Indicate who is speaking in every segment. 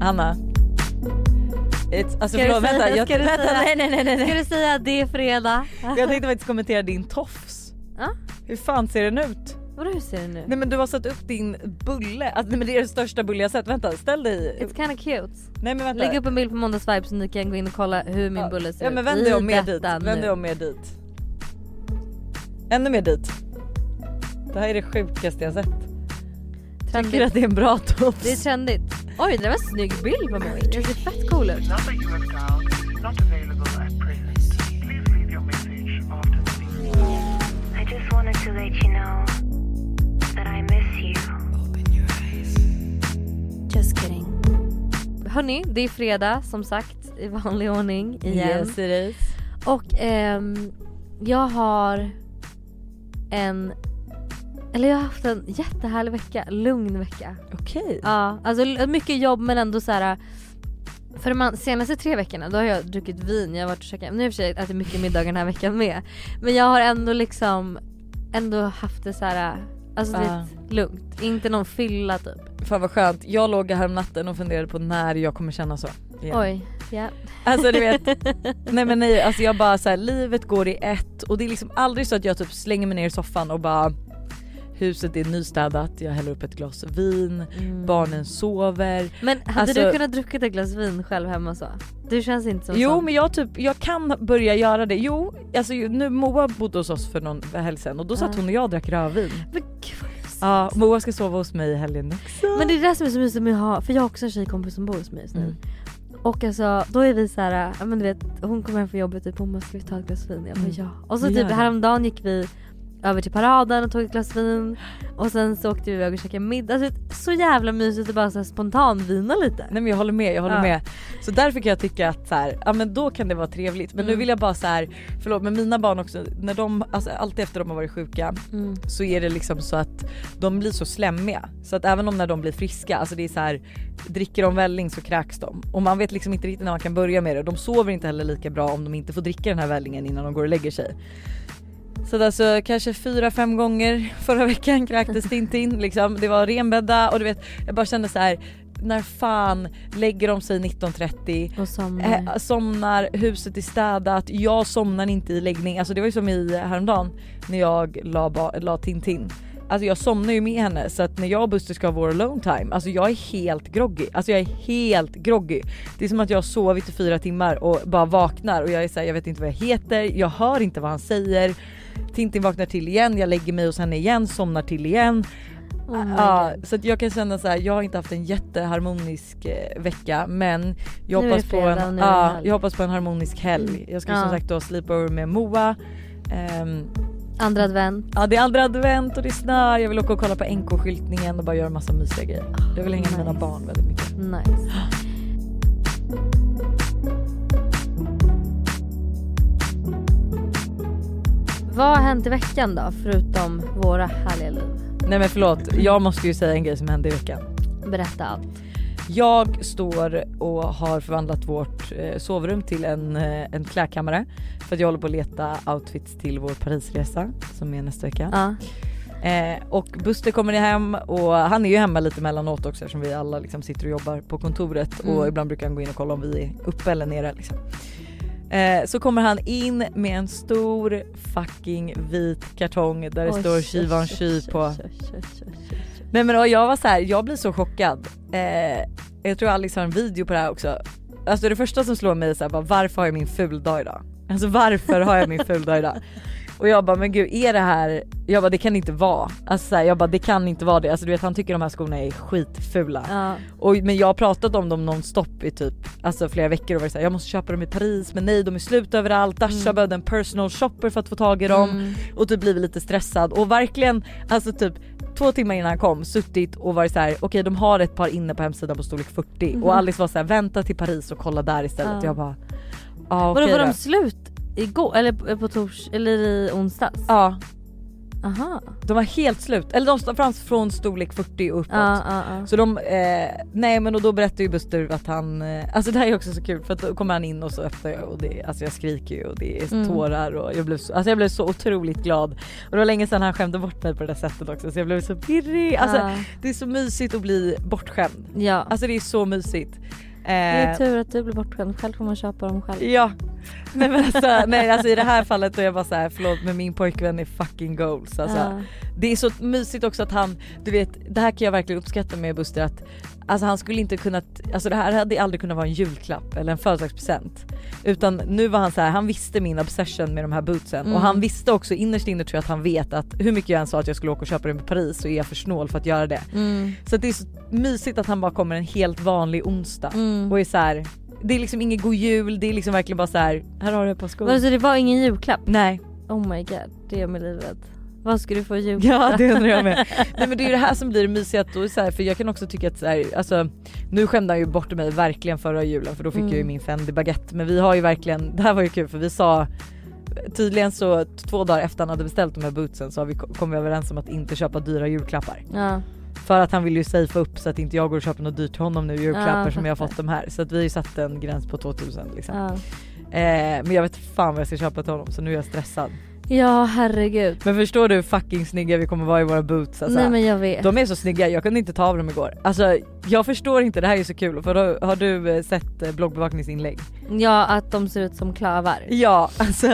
Speaker 1: Hanna. It's, alltså
Speaker 2: Ska du
Speaker 1: förlåt,
Speaker 2: säga-
Speaker 1: vänta. Jag,
Speaker 2: ska du
Speaker 1: vänta
Speaker 2: säga-
Speaker 1: nej, nej, nej, nej,
Speaker 2: Ska
Speaker 1: nej.
Speaker 2: du säga att det är fredag?
Speaker 1: Jag tänkte faktiskt kommentera din tofs.
Speaker 2: Ja.
Speaker 1: Hur fan ser den ut?
Speaker 2: Vadå hur ser det nu?
Speaker 1: Nej men du har satt upp din bulle. Alltså, nej, men det är den största bulle jag sett. Vänta ställ dig.
Speaker 2: It's kinda cute.
Speaker 1: Nej men vänta.
Speaker 2: Lägg upp en bild på måndags vibe så ni kan gå in och kolla hur min bulle ser
Speaker 1: ja,
Speaker 2: ut
Speaker 1: men vänd
Speaker 2: i
Speaker 1: dig om mer dit.
Speaker 2: detta
Speaker 1: Vänd dig
Speaker 2: nu.
Speaker 1: om mer dit. Ännu mer dit. Det här är det sjukaste jag sett. Tycker du att
Speaker 2: Trendigt.
Speaker 1: det är en bra tofs?
Speaker 2: Det är trendigt. Oj det där var en snygg bild på mig. Jag ser fett cool ut.
Speaker 3: number you have dialed is not available at present. Please leave your message after the beep.
Speaker 4: I just wanted to let you know that I miss you. Open your eyes. Just kidding.
Speaker 2: Hörni, det är fredag som sagt i vanlig ordning igen.
Speaker 1: Yes it is.
Speaker 2: Och ehm, jag har en, eller jag har haft en jättehärlig vecka, lugn vecka.
Speaker 1: Okej.
Speaker 2: Ja, alltså l- mycket jobb men ändå så här. äh, För de an- senaste tre veckorna då har jag druckit vin, jag har varit och käkat, nu har jag i och för sig ätit mycket middagar den här veckan med. Men jag har ändå liksom, ändå haft det så här. alltså
Speaker 1: Ja.
Speaker 2: lite lugnt. Inte någon fylla typ.
Speaker 1: Fan vad skönt. Jag låg här om natten och funderade på när jag kommer känna så. igen.
Speaker 2: Oj, ja.
Speaker 1: Alltså du vet, nej men nej, alltså jag bara så här, livet går i ett och det är liksom aldrig så att jag typ slänger mig ner i soffan och bara huset är nystädat, jag häller upp ett glas vin, barnen sover.
Speaker 2: Men hade
Speaker 1: Mm. Alltså-
Speaker 2: du kunnat druckit ett glas vin själv hemma så? Du känns inte som
Speaker 1: Jo
Speaker 2: sån.
Speaker 1: men jag, typ, jag kan börja göra det. Jo, alltså ju- nu Moa bodde hos oss för någon helg sedan och då satt
Speaker 2: Ja. Mm.
Speaker 1: hon och jag och drack rödvin.
Speaker 2: Men gud vad mysigt.
Speaker 1: Ja, Moa ska sova hos mig i helgen också.
Speaker 2: Men det är det där som är så mysigt med att ha, för jag har också en tjejkompis som bor hos mig just nu.
Speaker 1: Mm.
Speaker 2: Och alltså då är vi så här, ja men du vet hon kommer hem från jobbet typ hon bara ska vi ta ett glas vin? Jag bara
Speaker 1: Mm.
Speaker 2: ja. Och så
Speaker 1: Vi gör
Speaker 2: typ
Speaker 1: det.
Speaker 2: häromdagen gick vi över till paraden och tog ett glas vin och sen så åkte vi iväg och käkade middag. Alltså, så jävla mysigt att bara så här spontanvina lite.
Speaker 1: Nej men jag håller med, jag håller
Speaker 2: Ja.
Speaker 1: med. Så därför kan jag tycka att så här, ja men då kan det vara trevligt. Men nu
Speaker 2: Mm.
Speaker 1: vill jag bara så här, förlåt men mina barn också, när de, alltså alltid efter de har varit sjuka
Speaker 2: Mm.
Speaker 1: så är det liksom så att de blir så slemmiga. Så att även om när de blir friska, alltså det är så här, dricker de välling så kräks de. Och man vet liksom inte riktigt när man kan börja med det. De sover inte heller lika bra om de inte får dricka den här vällingen innan de går och lägger sig. Så att alltså kanske fyra, fem gånger förra veckan kräktes Tintin liksom. Det var renbädda och du vet jag bara kände så här. När fan lägger de sig 19.30?
Speaker 2: Och som,
Speaker 1: Eh, somnar, huset är städat, jag somnar inte i läggning. Alltså det var ju som i häromdagen när jag la, ba- la Tintin. Alltså jag somnar ju med henne så att när jag och Buster ska ha vår alone time, alltså jag är helt groggy. Alltså jag är helt groggy. Det är som att jag har sovit i fyra timmar och bara vaknar och jag är såhär, jag vet inte vad jag heter, jag hör inte vad han säger. Tintin vaknar till igen, jag lägger mig hos henne igen, somnar till igen.
Speaker 2: oh my
Speaker 1: Ja,
Speaker 2: God.
Speaker 1: så att jag kan känna så här, jag har inte haft en jätteharmonisk eh, vecka men jag
Speaker 2: Nu är det
Speaker 1: hoppas, på
Speaker 2: fredag och
Speaker 1: en,
Speaker 2: nu är det
Speaker 1: ja,
Speaker 2: helg. Mm.
Speaker 1: jag hoppas på en harmonisk helg. Jag ska
Speaker 2: Ja.
Speaker 1: som sagt då slipa över med Moa. Ehm,
Speaker 2: Andra advent.
Speaker 1: ja, det är andra advent och det snör, jag vill åka och kolla på NK-skyltningen och bara göra massa mysiga grejer. Jag vill hänga med mina
Speaker 2: nice.
Speaker 1: barn väldigt mycket.
Speaker 2: Nice. Vad har hänt i veckan då förutom våra härliga liv?
Speaker 1: Nej men förlåt, jag måste ju säga en grej som hände i veckan.
Speaker 2: Berätta allt.
Speaker 1: Jag står och har förvandlat vårt eh, sovrum till en, eh, en klädkammare för att jag håller på att leta outfits till vår Parisresa som är nästa vecka.
Speaker 2: Ja.
Speaker 1: Eh, och Buster kommer hem och han är ju hemma lite mellanåt också eftersom vi alla liksom sitter och jobbar på kontoret
Speaker 2: Mm.
Speaker 1: och ibland brukar han gå in och kolla om vi är uppe eller nere. Liksom. Eh, så kommer han in med en stor fucking vit kartong där det
Speaker 2: Oj,
Speaker 1: står
Speaker 2: oj, oj,
Speaker 1: Givenchy
Speaker 2: oj,
Speaker 1: på.
Speaker 2: oj, oj, oj, oj, oj.
Speaker 1: Nej men och jag var så här, jag blir så chockad. Eh, jag tror Alex har en video på det här också. Alltså det första som slår mig är så här, bara, varför har jag min fuldag idag? Alltså varför har jag min fuldag idag? Och jag bara men gud är det här, jag bara det kan inte vara. Alltså så här, jag bara det kan inte vara det. Alltså du vet han tycker de här skorna är skitfula.
Speaker 2: Ja.
Speaker 1: Och, men jag har pratat om dem nonstop i typ alltså flera veckor och varit såhär jag måste köpa dem i Paris men nej de är slut överallt. Dasha behövde en personal shopper för att få tag i dem
Speaker 2: Mm.
Speaker 1: och typ blivit lite stressad och verkligen alltså typ två timmar innan han kom suttit och varit så här: okej de har ett par inne på hemsidan på storlek 40 och Alice var så här: vänta till Paris och kolla där istället.
Speaker 2: Mhm. Ja.
Speaker 1: Jag bara ja okej
Speaker 2: Vadå var
Speaker 1: då.
Speaker 2: de slut igår eller på på tors eller i onsdags?
Speaker 1: Ja.
Speaker 2: Aha.
Speaker 1: De var helt slut, eller de stod fram från storlek 40 och uppåt.
Speaker 2: Ja, ja, ja.
Speaker 1: Så de, eh, nej men och då berättar ju Buster att han, eh, alltså det här är också så kul för att då kommer han in och så öppnar jag och det, alltså jag skriker ju och det är
Speaker 2: Mm.
Speaker 1: tårar och jag blev, så, alltså jag blev så otroligt glad. Och det var länge sedan han skämde bort mig på det där sättet också så jag blev så pirrig. Alltså
Speaker 2: ja.
Speaker 1: det är så mysigt att bli bortskämd.
Speaker 2: ja.
Speaker 1: Alltså det är så mysigt.
Speaker 2: det är typ-
Speaker 1: Eh,
Speaker 2: tur att du blir bortskämd, själv får man köpa dem själv.
Speaker 1: Ja. Nej men alltså, nej, alltså i det här fallet då är jag bara så här, förlåt men min pojkvän är fucking goals alltså.
Speaker 2: Ja.
Speaker 1: Det är så mysigt också att han, du vet det här kan jag verkligen uppskatta med Buster att Alltså han skulle inte kunnat, alltså det här hade aldrig kunnat vara en julklapp eller en födelsedagspresent. Utan nu var han så här, han visste min obsession med de här bootsen och
Speaker 2: Mm.
Speaker 1: han visste också innerst inne tror jag att han vet att hur mycket jag än sa att jag skulle åka och köpa dem i Paris så är jag för snål för att göra det.
Speaker 2: Mm.
Speaker 1: Så att det är så mysigt att han bara kommer en helt vanlig onsdag
Speaker 2: Mm.
Speaker 1: och är så här. Det är liksom ingen god jul, det är liksom verkligen bara så här. här har du ett par skor.
Speaker 2: Vadå, så det var ingen julklapp?
Speaker 1: Nej,
Speaker 2: Oh my god, det gör mig livet. Vad ska du få i julklapp?
Speaker 1: ja det undrar jag med. Nej men det är ju det här som blir det mysiga att då är det så här, för jag kan också tycka att så här, alltså nu skämde han ju bort mig verkligen förra julen för då fick
Speaker 2: Mm.
Speaker 1: jag ju min Fendi baguette men vi har ju verkligen, det här var ju kul för vi sa Tydligen så t- två dagar efter han hade beställt de här bootsen så har vi ko- kommit överens om att inte köpa dyra julklappar.
Speaker 2: Ja.
Speaker 1: För att han vill ju safea upp så att inte jag går och köper något dyrt till honom nu i julklappar som jag har
Speaker 2: fattar.
Speaker 1: fått de här. Så att vi har ju satt en gräns på 2000 liksom.
Speaker 2: Ja.
Speaker 1: Eh, men jag vet fan vad jag ska köpa till honom så nu är jag stressad.
Speaker 2: ja herregud.
Speaker 1: Men förstår du hur fucking snygga vi kommer vara i våra boots alltså.
Speaker 2: Nej men jag vet.
Speaker 1: De är så snygga, jag kunde inte ta av dem igår. Alltså jag förstår inte, det här är så kul. För då, har du eh, sett eh, bloggbevakningsinlägg?
Speaker 2: Ja att de ser ut som klövar.
Speaker 1: Ja alltså,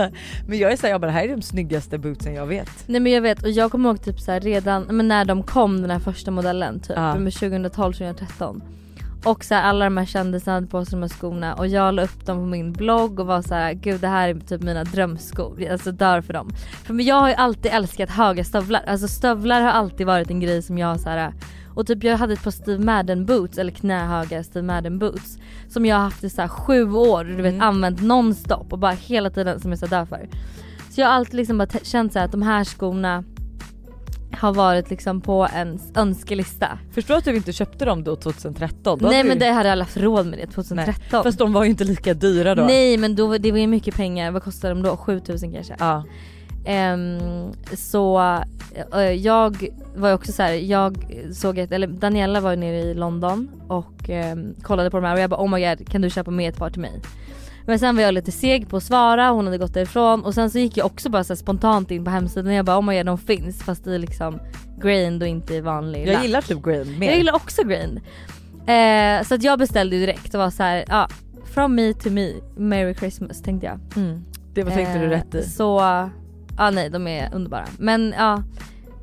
Speaker 1: men jag är såhär, jag bara det här är de snyggaste bootsen jag vet.
Speaker 2: Nej men jag vet och jag kommer ihåg typ så här redan men när de kom den här första modellen typ
Speaker 1: Ja.
Speaker 2: men 2012, 2013. Och så här, alla de här kändisarna hade på sig de här skorna och jag la upp dem på min blogg och var så här: gud det här är typ mina drömskor, Jag alltså dör för dem. För men jag har ju alltid älskat höga stövlar, alltså stövlar har alltid varit en grej som jag har så här. och typ jag hade ett par Steve Madden boots eller knähöga Steve Madden boots som jag har haft i så här sju år du vet använt nonstop och bara hela tiden som jag är så här, dör för. Så jag har alltid liksom bara t- känt så här att de här skorna har varit liksom på ens önskelista.
Speaker 1: Förstår att du inte köpte dem då 2013? Då
Speaker 2: Nej
Speaker 1: hade
Speaker 2: men
Speaker 1: du-
Speaker 2: det hade jag haft råd med det 2013.
Speaker 1: Fast de var ju inte lika dyra då.
Speaker 2: Nej men då, var- det var ju mycket pengar, vad kostade de då? 7000 kanske.
Speaker 1: Ja.
Speaker 2: Ehm, så eh, jag var ju också så här, jag såg ett, eller Daniela var ju nere i London och ehm, kollade på de här och jag bara oh my god kan du köpa med ett par till mig? Men sen var jag lite seg på att svara, hon hade gått därifrån och sen så gick jag också bara så här spontant in på hemsidan och jag bara oh my god de finns fast i liksom grained och inte i vanlig
Speaker 1: Jag
Speaker 2: lack.
Speaker 1: gillar typ green mer.
Speaker 2: Jag gillar också green. Eh, så att jag beställde ju direkt och var så här, ja from me to me, merry christmas tänkte jag.
Speaker 1: mm. Det var tänkte du
Speaker 2: Eh,
Speaker 1: rätt i.
Speaker 2: Så, ja nej de är underbara. Men ja,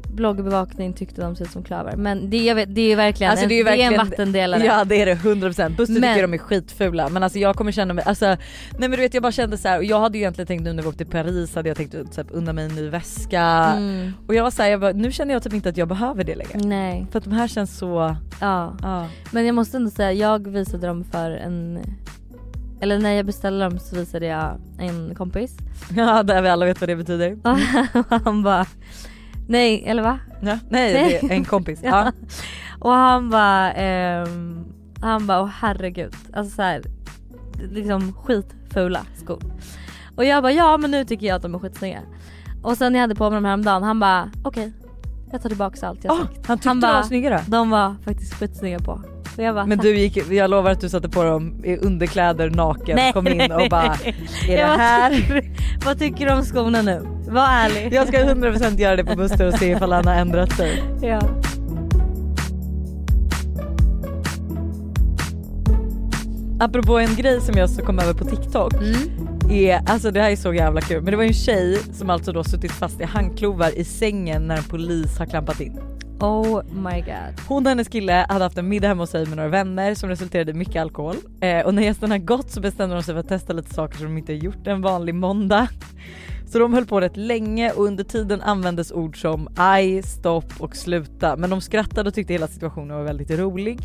Speaker 2: bloggbevakning tyckte de såg ut som klöver. Men det, jag vet, det är ju verkligen,
Speaker 1: Alltså,
Speaker 2: en,
Speaker 1: det
Speaker 2: det
Speaker 1: är ju
Speaker 2: är en
Speaker 1: verkligen-
Speaker 2: vattendelare.
Speaker 1: Ja det är det 100%. Buster
Speaker 2: Men-
Speaker 1: tycker de är skitfula men alltså jag kommer känna mig, alltså nej men du vet jag bara kände så här och jag hade ju egentligen tänkt nu när vi åkte till Paris hade jag tänkt typ unna mig en ny väska
Speaker 2: Mm,
Speaker 1: och jag var såhär, jag bara, nu känner jag typ inte att jag behöver det längre.
Speaker 2: nej,
Speaker 1: För att de här känns så,
Speaker 2: ja.
Speaker 1: ja.
Speaker 2: Men jag måste ändå säga, jag visade dem för en eller när jag beställde dem så visade jag en kompis
Speaker 1: ja där vi alla vet vad det betyder.
Speaker 2: och han bara Nej eller va?
Speaker 1: Ja. Nej det är en kompis. Ja.
Speaker 2: Och han bara ehm, han bara åh herregud. Alltså så här, liksom skitfula skor. Och jag bara ja men nu tycker jag att de är skitsnygga. Och sen när jag hade på mig dem häromdagen han bara okej jag tar tillbaka allt jag
Speaker 1: Åh,
Speaker 2: sagt.
Speaker 1: Ah, han tyckte
Speaker 2: Han
Speaker 1: de
Speaker 2: bara-
Speaker 1: var snygga då.
Speaker 2: De var faktiskt skitsnygga på. Och jag bara
Speaker 1: Men
Speaker 2: tack.
Speaker 1: du gick, jag lovar att du satte på dem i underkläder naken
Speaker 2: Nej,
Speaker 1: kom in och bara är det
Speaker 2: Jag bara,
Speaker 1: här?
Speaker 2: vad tycker du om skorna nu? Var ärlig.
Speaker 1: Jag ska 100% göra det på Buster och se ifall han har ändrat sig.
Speaker 2: ja.
Speaker 1: Apropå en grej som jag så kom över på TikTok. Är, alltså det här är så jävla kul. Men det var ju en tjej som alltså då suttit fast i handklovar i sängen när en polis har klampat in.
Speaker 2: Oh my god.
Speaker 1: Hon och hennes kille hade haft en middag hemma hos sig med några vänner som resulterade i mycket alkohol. Eh, och när gästerna gått så bestämde de sig för att testa lite saker som de inte gjort en vanlig måndag. Så de höll på rätt länge och under tiden användes ord som aj, stopp och sluta. Men de skrattade och tyckte hela situationen var väldigt rolig.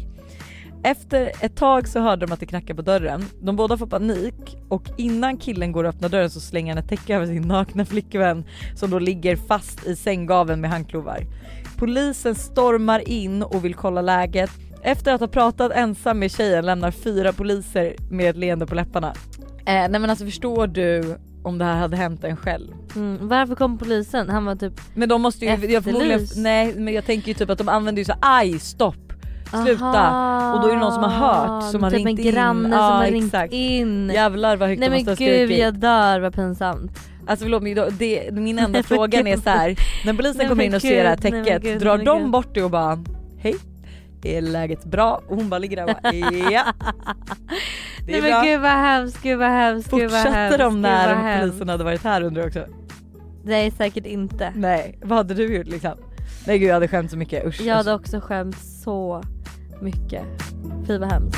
Speaker 1: Efter ett tag så hörde de att det knackade på dörren. De båda får panik och innan killen går och öppnar dörren så slänger han ett täcke över sin nakna flickvän som då ligger fast i sänggaveln med handklovar. Polisen stormar in och vill kolla läget. Efter att ha pratat ensam med tjejen lämnar fyra poliser med ett leende på läpparna. Eh, nej men alltså förstår du om det här hade hänt en själv.
Speaker 2: Mm. Varför kom polisen? Han var typ
Speaker 1: Men de måste ju, jag förmodligen,
Speaker 2: Efterlys.
Speaker 1: nej men jag tänker ju typ att de använder ju så här, aj stopp, sluta.
Speaker 2: Aha,
Speaker 1: Och då är det någon som har hört, som har
Speaker 2: typ
Speaker 1: ringt
Speaker 2: en
Speaker 1: in.
Speaker 2: granne som
Speaker 1: Ja,
Speaker 2: har ringt
Speaker 1: exakt.
Speaker 2: in.
Speaker 1: Jävlar vad högt
Speaker 2: Nej
Speaker 1: de
Speaker 2: men
Speaker 1: måste ha
Speaker 2: gud
Speaker 1: skrikit.
Speaker 2: jag dör vad pinsamt.
Speaker 1: Alltså förlåt men då- det, min enda
Speaker 2: Nej, men
Speaker 1: frågan är
Speaker 2: gud.
Speaker 1: så här. när polisen
Speaker 2: Nej,
Speaker 1: kommer
Speaker 2: men
Speaker 1: in och ser
Speaker 2: gud,
Speaker 1: det här
Speaker 2: nej, men
Speaker 1: täcket,
Speaker 2: gud,
Speaker 1: drar
Speaker 2: nej, men
Speaker 1: de
Speaker 2: gud.
Speaker 1: bort det och bara hej, är läget bra? Och hon bara ligger där och bara ja. Det
Speaker 2: Nej
Speaker 1: är
Speaker 2: men
Speaker 1: bra.
Speaker 2: gud vad hemskt, gud vad hemskt, gud vad
Speaker 1: Fortsatte
Speaker 2: hemskt.
Speaker 1: de
Speaker 2: gud,
Speaker 1: när
Speaker 2: vad
Speaker 1: om
Speaker 2: hemskt.
Speaker 1: polisen hade varit här undrar jag också.
Speaker 2: Nej säkert inte.
Speaker 1: Nej, vad hade du gjort liksom? Nej gud jag hade skämt så mycket, usch. alltså.
Speaker 2: Jag hade
Speaker 1: usch.
Speaker 2: också skämt så mycket. Fy vad hemskt.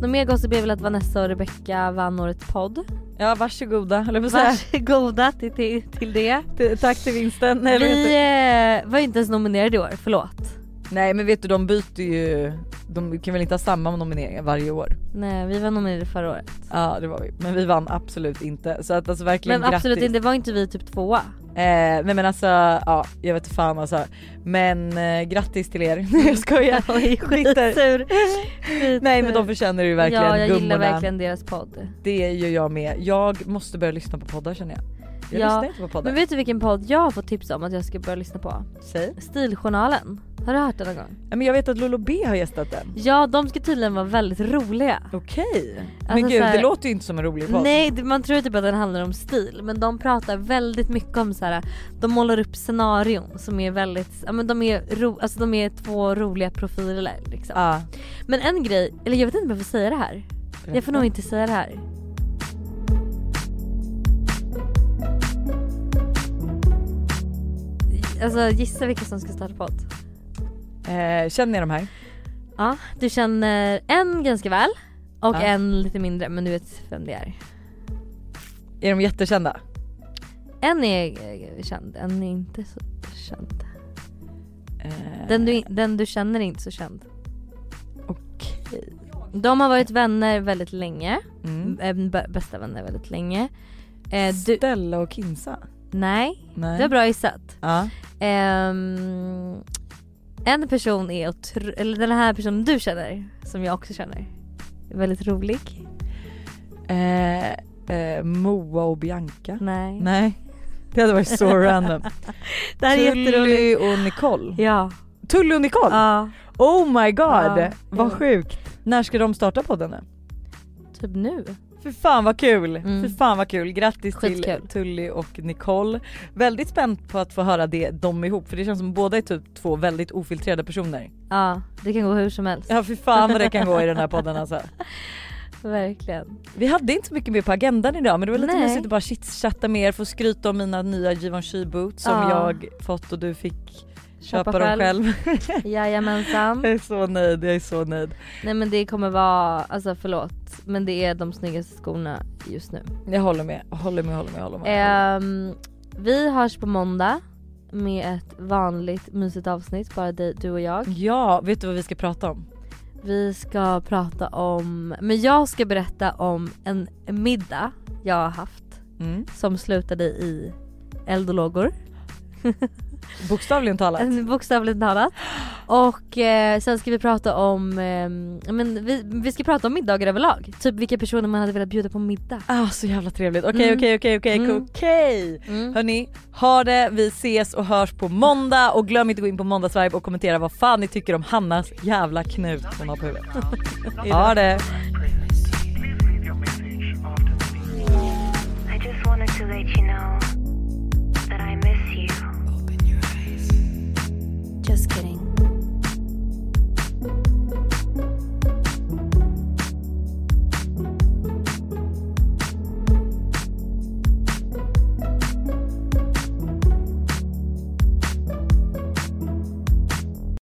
Speaker 2: Något mer gossip är väl att Vanessa och Rebecca vann årets podd.
Speaker 1: Ja varsågoda höll jag på att säga.
Speaker 2: Varsågoda till, till, till det.
Speaker 1: T- Tack till vinsten. Nej, men vet
Speaker 2: Vi
Speaker 1: du-
Speaker 2: eh, var ju inte ens nominerade i år, förlåt.
Speaker 1: Nej men vet du de byter ju, de kan väl inte ha samma nomineringar varje år?
Speaker 2: Nej vi var nominerade förra året.
Speaker 1: Ja det var vi, men vi vann absolut inte. Så att alltså verkligen
Speaker 2: Men
Speaker 1: grattis.
Speaker 2: absolut inte, var inte vi typ tvåa?
Speaker 1: Eh, nej men alltså, ja jag vet inte fan alltså. Men eh, grattis till er, jag skojar.
Speaker 2: Oj
Speaker 1: Bitter.
Speaker 2: skitsur. Skitsur.
Speaker 1: Nej men de förtjänar ju verkligen
Speaker 2: Ja jag
Speaker 1: gummorna.
Speaker 2: gillar verkligen deras podd.
Speaker 1: Det är ju jag med. Jag måste börja lyssna på poddar känner jag. Jag
Speaker 2: Ja,
Speaker 1: lyssnar inte på poddar.
Speaker 2: Men vet du vilken podd jag har fått tips om att jag ska börja lyssna på?
Speaker 1: Säg.
Speaker 2: Stiljournalen. Har du hört den någon gång?
Speaker 1: Ja, men jag vet att Lolo B har gästat den.
Speaker 2: Ja de ska tydligen vara väldigt roliga.
Speaker 1: Okej. men
Speaker 2: Alltså,
Speaker 1: gud
Speaker 2: så här-
Speaker 1: det låter ju inte som en rolig podd.
Speaker 2: Nej det- man tror typ att den handlar om stil men de pratar väldigt mycket om så här. de målar upp scenarion som är väldigt, ja men de är, ro, alltså, de är två roliga profiler liksom.
Speaker 1: Ah,
Speaker 2: Men en grej, eller jag vet inte om jag får säga det här. Jag får nog inte säga det här. Alltså gissa vilka som ska starta podd.
Speaker 1: eh, känner ni de här?
Speaker 2: Ja, du känner en ganska väl och
Speaker 1: Ja.
Speaker 2: en lite mindre men du vet vem det är.
Speaker 1: Är de jättekända?
Speaker 2: En är eh, känd, en är inte så känd.
Speaker 1: Eh,
Speaker 2: Den du, den du känner är inte så känd.
Speaker 1: Okej.
Speaker 2: De har varit vänner väldigt länge,
Speaker 1: Mm.
Speaker 2: Eh, b- bästa vänner väldigt länge. Eh, du,
Speaker 1: Stella och Kinsa?
Speaker 2: nej,
Speaker 1: Nej.
Speaker 2: det var bra gissat.
Speaker 1: Ja.
Speaker 2: Ehm, en person är otro- eller den här personen du känner, som jag också känner, är väldigt rolig.
Speaker 1: Eh, eh, Moa och Bianca?
Speaker 2: Nej.
Speaker 1: Nej. Det hade varit så random.
Speaker 2: Det här är jätteroligt.
Speaker 1: Tully och Nicole.
Speaker 2: Ja.
Speaker 1: Tully och Nicole?
Speaker 2: ja.
Speaker 1: Oh my god!
Speaker 2: Ja,
Speaker 1: Vad
Speaker 2: ja.
Speaker 1: sjukt. När ska de starta podden nu?
Speaker 2: Typ nu.
Speaker 1: Fy fan vad kul!
Speaker 2: Mm.
Speaker 1: Fy fan vad kul. Grattis till
Speaker 2: Skitkul.
Speaker 1: Tully och Nicole. Väldigt spänd på att få höra det de ihop för det känns som båda är typ två väldigt ofiltrerade personer.
Speaker 2: Ja, det kan gå hur som helst.
Speaker 1: Ja fy fan vad det kan gå i den här podden alltså.
Speaker 2: Verkligen.
Speaker 1: Vi hade inte så mycket mer på agendan idag men det var lite
Speaker 2: Nej.
Speaker 1: mysigt att bara chitchatta med er, få skryta om mina nya Givenchy boots som
Speaker 2: Ja.
Speaker 1: jag fått och du fick köpa, dem själv.
Speaker 2: Jajamensan.
Speaker 1: jag är så nöjd, jag är så nöjd.
Speaker 2: Nej men det kommer vara, alltså förlåt, men det är de snyggaste skorna just nu.
Speaker 1: Jag håller med, håller med, håller med, håller med.
Speaker 2: Ehm, vi hörs på måndag med ett vanligt mysigt avsnitt, bara dig, du och jag.
Speaker 1: Ja, vet du vad vi ska prata om?
Speaker 2: Vi ska prata om, men jag ska berätta om en middag jag har haft
Speaker 1: Mm.
Speaker 2: som slutade i eldolågor.
Speaker 1: Bokstavligen talat.
Speaker 2: Bokstavligt talat. Och eh, sen ska vi prata om, ehm, ja, men vi, vi ska prata om middagar överlag. Typ vilka personer man hade velat bjuda på middag.
Speaker 1: Ah, så jävla trevligt. Okej
Speaker 2: Mm.
Speaker 1: okej okej okej
Speaker 2: Mm.
Speaker 1: okej. Hörni, ha det. Vi ses och hörs på måndag och glöm inte gå in på måndagsvibe och kommentera vad fan ni tycker om Hannas jävla knut hon har på huvudet. ha det.
Speaker 3: Please leave your message after the beep.
Speaker 4: I just wanted to let you know